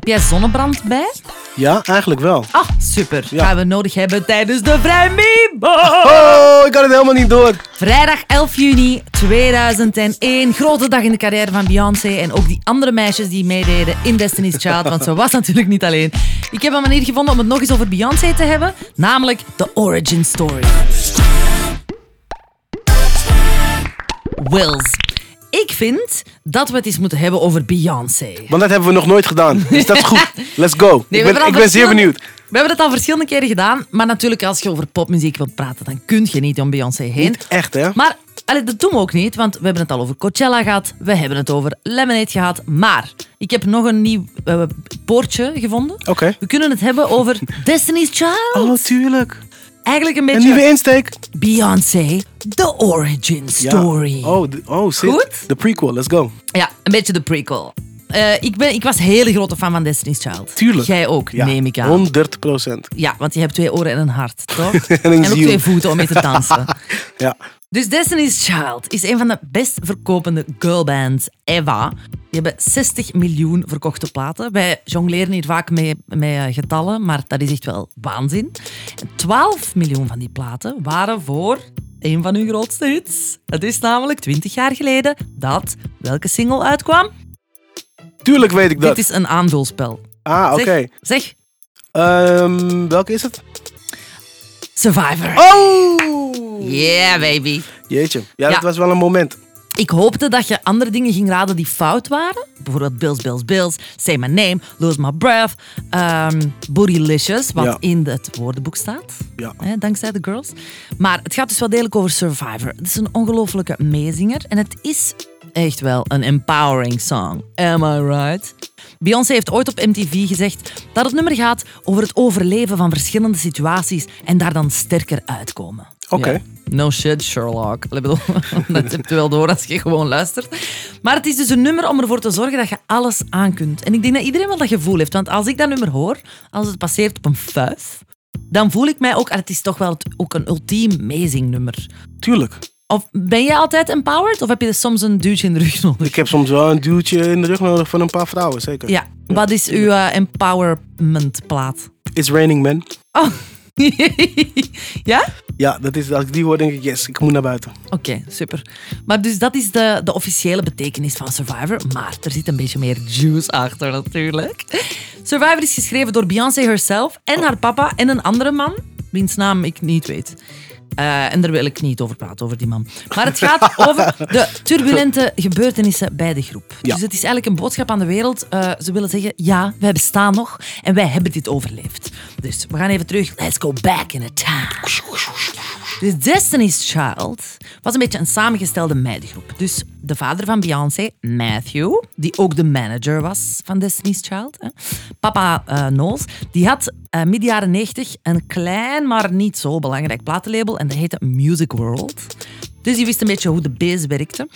jij zonnebrand bij? Ja, eigenlijk wel. Ah, super. Ja. Gaan we nodig hebben tijdens de Vrijmibo. Oh, ik had het helemaal niet door. Vrijdag 11 juni 2001. Grote dag in de carrière van Beyoncé. En ook die andere meisjes die meededen in Destiny's Child. Want ze was natuurlijk niet alleen. Ik heb een manier gevonden om het nog eens over Beyoncé te hebben. Namelijk de origin story. Wills. Ik vind dat we het eens moeten hebben over Beyoncé. Want dat hebben we nog nooit gedaan. Is dat goed? Let's go. Nee, we ik hebben ben, al ik ben zeer verschillende- benieuwd. We hebben dat al verschillende keren gedaan. Maar natuurlijk, als je over popmuziek wilt praten, dan kun je niet om Beyoncé heen. Niet echt, hè? Maar allee, dat doen we ook niet, want we hebben het al over Coachella gehad. We hebben het over Lemonade gehad. Maar ik heb nog een nieuw eh, poortje gevonden. Oké. We kunnen het hebben over Destiny's Child. Oh, tuurlijk. Eigenlijk een Een beetje nieuwe insteek. Beyoncé, The Origin Ja. Story. Oh, de- oh shit. Goed? De prequel, let's go. Ja, een beetje de prequel. Eh, ik, ben, ik was een hele grote fan van Destiny's Child. Tuurlijk. Jij ook, Ja, neem ik aan. 130 procent. Ja, want je hebt twee oren en een hart, toch? En een en ook ziel. twee voeten om mee te dansen. Ja. Dus Destiny's Child is een van de best verkopende girlbands Eva. Die hebben 60 miljoen verkochte platen. Wij jongleren hier vaak mee, met, eh, getallen, maar dat is echt wel waanzin. En 12 miljoen van die platen waren voor een van hun grootste hits. Het is namelijk 20 jaar geleden dat welke single uitkwam. Tuurlijk weet ik dat. Dit is een aanvulspel. Ah, oké. Zeg, zeg Ehm, welke is het? Survivor. Oh! Yeah, baby. Jeetje. Ja, Ja. dat was wel een moment. Ik hoopte dat je andere dingen ging raden die fout waren. Bijvoorbeeld Bills, Bills, Bills, Say My Name, Lose My Breath, ehm Bootylicious, wat Ja. in het woordenboek staat. Ja. Hè, dankzij de girls. Maar het gaat dus wel degelijk over Survivor. Het is een ongelofelijke meezinger en het is echt wel een empowering song. Am I right? Beyoncé heeft ooit op MTV gezegd dat het nummer gaat over het overleven van verschillende situaties en daar dan sterker uitkomen. Oké. Ja. No shit, Sherlock. Ik bedoel, dat heb je wel door als je gewoon luistert. Maar het is dus een nummer om ervoor te zorgen dat je alles aan kunt. En ik denk dat iedereen wel dat gevoel heeft. Want als ik dat nummer hoor, als het passeert op een vijf, dan voel ik mij ook... ah, Het is toch wel het- ook een ultiem amazing nummer. Tuurlijk. Of ben jij altijd empowered? Of heb je soms een duwtje in de rug nodig? Ik heb soms wel een duwtje in de rug nodig van een paar vrouwen, zeker. Ja. Wat is uw eh, empowerment plaat? It's Raining Man. Oh. ja? Ja, dat is, als ik die hoor, denk ik, yes, ik moet naar buiten. Oké, super. Maar dus dat is de, de officiële betekenis van Survivor. Maar er zit een beetje meer juice achter natuurlijk. Survivor is geschreven door Beyoncé herself en haar papa en een andere man, wiens naam ik niet weet. Eh, en daar wil ik niet over praten, over die man. Maar het gaat over de turbulente gebeurtenissen bij de groep. Ja. Dus het is eigenlijk een boodschap aan de wereld. Eh, ze willen zeggen, ja, wij bestaan nog en wij hebben dit overleefd. Dus we gaan even terug. Let's go back in a time. Dus Destiny's Child was een beetje een samengestelde meidengroep. Dus de vader van Beyoncé, Matthew, die ook de manager was van Destiny's Child, hè. papa eh Knowles, die had eh midden jaren 90 een klein, maar niet zo belangrijk platenlabel en dat heette Music World. Dus die wist een beetje hoe de bees werkte.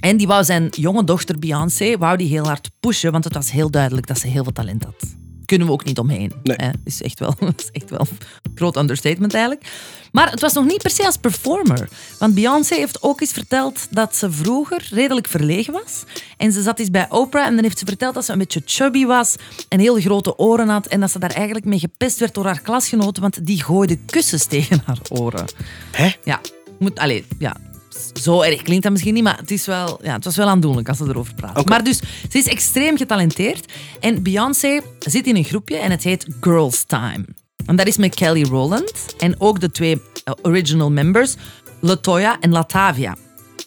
En die wou zijn jonge dochter Beyoncé wou die heel hard pushen, want het was heel duidelijk dat ze heel veel talent had. Kunnen we ook niet omheen. Nee. hè. is, echt wel, is echt wel een groot understatement eigenlijk. Maar het was nog niet per se als performer. Want Beyoncé heeft ook eens verteld dat ze vroeger redelijk verlegen was. En ze zat eens bij Oprah en dan heeft ze verteld dat ze een beetje chubby was en heel grote oren had. En dat ze daar eigenlijk mee gepest werd door haar klasgenoten, want die gooiden kussens tegen haar oren. Hè? Ja, moet, allee, ja. Zo erg klinkt dat misschien niet, maar het, is wel, ja, het was wel aandoenlijk als ze erover praten. Oké. Maar dus, ze is extreem getalenteerd. En Beyoncé zit in een groepje en het heet Girls Time. En dat is met Kelly Rowland en ook de twee eh, original members, Latoya en Latavia.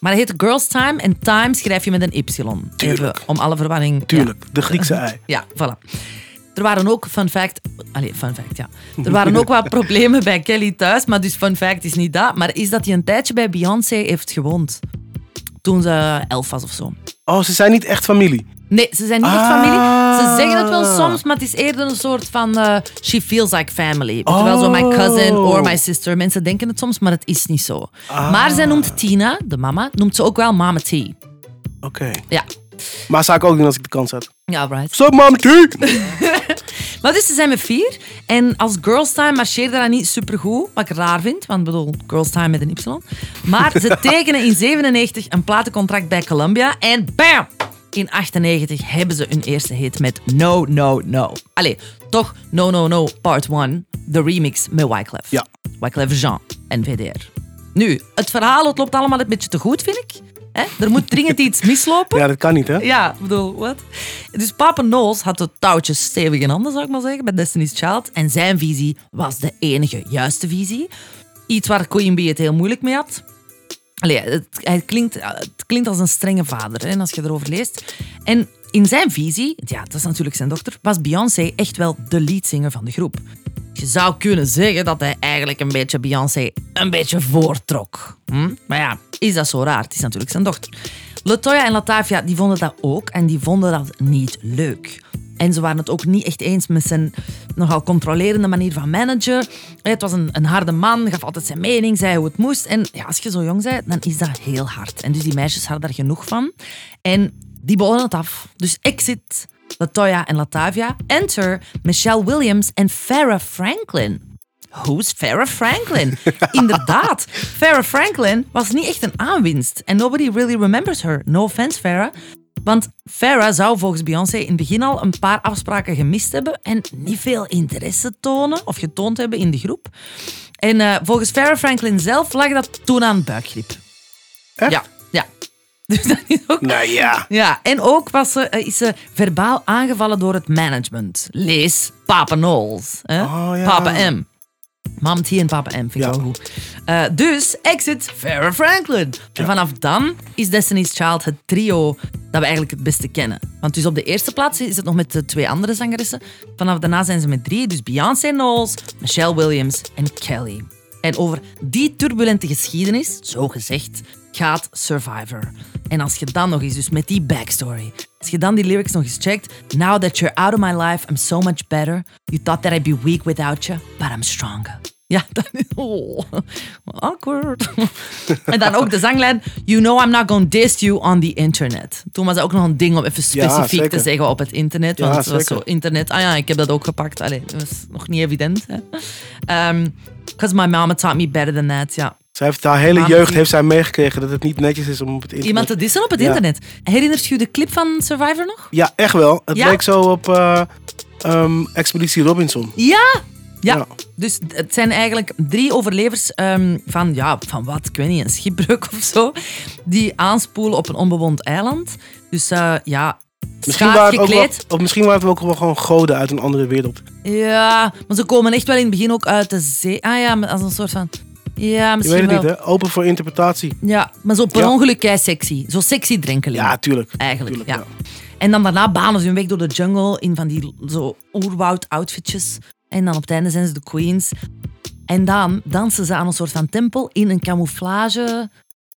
Maar het heet Girls Time en Time schrijf je met een Y. Even Tuurlijk. om alle verwarring... ja. Tuurlijk. De Griekse ei. Ja, voilà. Er waren ook, fun fact... Allee, fun fact, ja. Er waren ook wat problemen bij Kelly thuis, maar dus fun fact is niet dat. Maar is dat hij een tijdje bij Beyoncé heeft gewoond. Toen ze elf was of zo. Oh, ze zijn niet echt familie. Nee, ze zijn niet echt Ah. familie. Ze zeggen het wel soms, maar het is eerder een soort van... eh, she feels like family. Terwijl zo my cousin Oh. Ah. or my sister. Mensen denken het soms, maar het is niet zo. Maar zij noemt Tina, de mama, noemt ze ook wel mama T. Oké. Ja. Maar zou ik ook doen als ik de kans had. Ja, right. Stop, mama, tuut! Maar dus ze zijn met vier. En als Girls Time marcheerde dat niet supergoed. Wat ik raar vind, want ik bedoel, Girls Time met een Y. Maar ze tekenen in 97 een platencontract bij Columbia. En bam! In 98 hebben ze hun eerste hit met No, No, No. Allee, toch No, No, No Part 1, de remix met Wyclef. Ja. Wyclef Jean en VDR. Nu, het verhaal het loopt allemaal een beetje te goed, vind ik. Hè? Er moet dringend iets mislopen. Ja, dat kan niet, hè? Ja, ik bedoel, wat? Dus Papa Noos had de touwtjes stevig in handen, zou ik maar zeggen, bij Destiny's Child. En zijn visie was de enige juiste visie. Iets waar Queen Bee het heel moeilijk mee had. Allee, het, hij klinkt, eh, het klinkt als een strenge vader, hè, als je erover leest. En in zijn visie, ja, dat is natuurlijk zijn dochter, was Beyoncé echt wel de leadzanger van de groep. Je zou kunnen zeggen dat hij eigenlijk een beetje Beyoncé een beetje voortrok. Hm? Maar ja, is dat zo raar? Het is natuurlijk zijn dochter. Latoya en Latavia die vonden dat ook en die vonden dat niet leuk. En ze waren het ook niet echt eens met zijn nogal controlerende manier van managen. Het was een, een harde man, gaf altijd zijn mening, zei hoe het moest. En ja, als je zo jong bent, dan is dat heel hard. En dus die meisjes hadden daar genoeg van. En die bollen het af. Dus exit Latoya en Latavia. Enter Michelle Williams en Farrah Franklin. Who's Farrah Franklin? Inderdaad, Farrah Franklin was niet echt een aanwinst. En nobody really remembers her. No offense, Farrah. Want Farrah zou volgens Beyoncé in het begin al een paar afspraken gemist hebben en niet veel interesse tonen of getoond hebben in de groep. En eh, volgens Farrah Franklin zelf lag dat toen aan buikgriep. Echt? Ja, ja. Dus dat is ook Nou ja. ja, en ook was ze, eh, is ze verbaal aangevallen door het management. Lees Papa Knowles. Hè? Oh, ja. Papa M. Mam T en Papa M, vind ik Ja. ook goed. Eh, dus exit Farrah Franklin. En vanaf dan is Destiny's Child het trio dat we eigenlijk het beste kennen. Want dus op de eerste plaats is het nog met de twee andere zangeressen. Vanaf daarna zijn ze met drie. Dus Beyoncé Knowles, Michelle Williams en Kelly. En over die turbulente geschiedenis, zo gezegd, gaat Survivor. En als je dan nog eens, dus met die backstory, als je dan die lyrics nog eens checkt. Now that you're out of my life, I'm so much better. You thought that I'd be weak without you, but I'm stronger. Ja, dan is... Oh, awkward. en dan ook de zanglijn... You know I'm not gonna diss you on the internet. Toen was dat ook nog een ding om even specifiek te zeker. zeggen op het internet. Want Ja, het was zo zeker. internet... Ah ja, ik heb dat ook gepakt. Allee, dat was nog niet evident. hè. Ehm, Cause my mama taught me better than that. Ja. Zij heeft haar hele Maar jeugd misschien- heeft zij meegekregen dat het niet netjes is om op het internet... Iemand te dissen op het Ja. internet. Herinnert je de clip van Survivor nog? Ja, echt wel. Het Ja? leek zo op eh, ehm, Expeditie Robinson. Ja! Ja, Ja. dus het zijn eigenlijk drie overlevers ehm, van, ja, van wat, ik weet niet, een schipbreuk of zo, die aanspoelen op een onbewoond eiland. Dus eh, ja, Misschien schaars waren, het ook wel, gekleed. of misschien waren het ook wel gewoon goden uit een andere wereld. Ja, maar ze komen echt wel in het begin ook uit de zee. Ah ja, maar als een soort van... Ja, Je weet misschien het niet, wel. hè? Open voor interpretatie. Ja, maar zo per Ja. ongeluk kei sexy. Zo sexy drenkeling. Ja, tuurlijk. eigenlijk. Tuurlijk, ja. En dan daarna banen ze hun weg door de jungle in van die zo oerwoud-outfitjes. En dan op het einde zijn ze de queens. En dan dansen ze aan een soort van tempel in een camouflage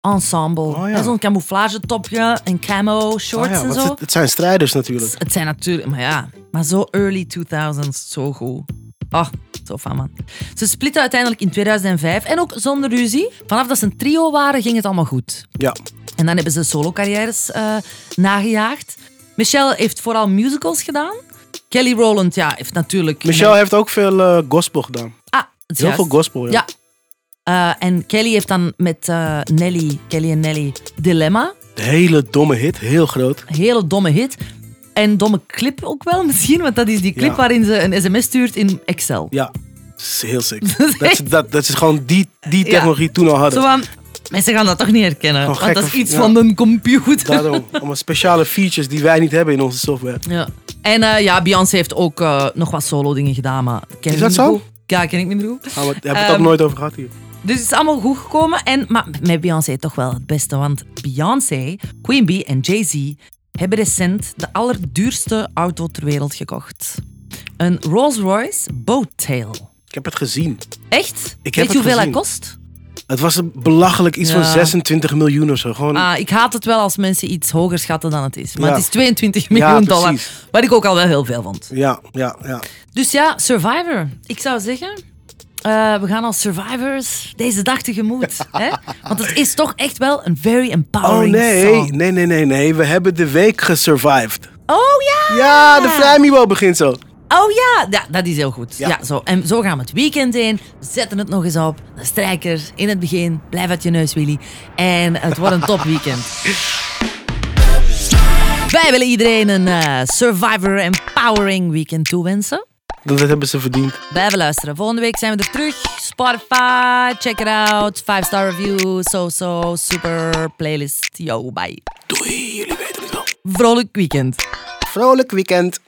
ensemble. Oh ja. En Zo'n camouflage topje, een camo, shorts Ah ja, en want zo. het, het zijn strijders natuurlijk. Het zijn natuurlijk, maar ja, maar zo early 2000s, zo goed. Ah, zo van man. Ze splitten uiteindelijk in 2005 en ook zonder ruzie. Vanaf dat ze een trio waren, ging het allemaal goed. Ja. En dan hebben ze solo-carrières eh, nagejaagd. Michelle heeft vooral musicals gedaan. Kelly Rowland ja, heeft natuurlijk... Michelle heeft ook veel eh, gospel gedaan. Ah, het is Heel juist. veel gospel, ja. Ja. Eh, en Kelly heeft dan met eh, Nelly, Kelly en Nelly, Dilemma. De hele domme hit, heel groot. Een hele domme hit. En domme clip ook wel misschien, want dat is die clip Ja. waarin ze een sms stuurt in Excel. Ja, dat is heel sick. dat, ze, dat, dat ze gewoon die, die Ja. technologie toen al Zo hadden. van, mensen gaan dat toch niet herkennen, Gewoon want dat is gekke- iets Oh, ja. van een computer. Daarom, allemaal speciale features die wij niet hebben in onze software. Ja. En eh, ja, Beyoncé heeft ook eh, nog wat solo dingen gedaan, maar ken ik dat minder zo? goed. Ja, ken ik minder goed. Daar hebben we het ook Ehm, nooit over gehad hier. Dus het is allemaal goed gekomen. En, maar met Beyoncé toch wel het beste. Want Beyoncé, Queen Bee en Jay-Z hebben recent de allerduurste auto ter wereld gekocht. Een Rolls Royce Bowtail. Ik heb het gezien. Echt? Weet Ik heb het je hoeveel gezien. dat kost? Het was een belachelijk iets van Ja. 26 miljoen of zo. Gewoon, Ah, ik haat het wel als mensen iets hoger schatten dan het is. Maar Ja. het is 22 miljoen precies. dollar. Wat ik ook al wel heel veel vond. Ja, ja, ja. Dus ja, Survivor. Ik zou zeggen, eh, we gaan als survivors deze dag tegemoet. hè? Want het is toch echt wel een very Oh empowering nee, song. nee, nee, nee, nee. We hebben de week gesurvived. Oh ja! Ja, de vrijmibo begint zo. Oh ja! ja, dat is heel goed. Ja. Ja. zo. En zo gaan we het weekend in. We zetten het nog eens op. De strijker in het begin. Blijf uit je neus, Willy. En het wordt een topweekend. Wij willen iedereen een eh, Survivor Empowering Weekend toewensen. Dat dat hebben ze verdiend. Blijven luisteren. Volgende week zijn we er terug. Spotify, check it out. 5-star review, so-so, super playlist. Yo, bye. Doei, jullie weten het wel. Vrolijk weekend. Vrolijk weekend.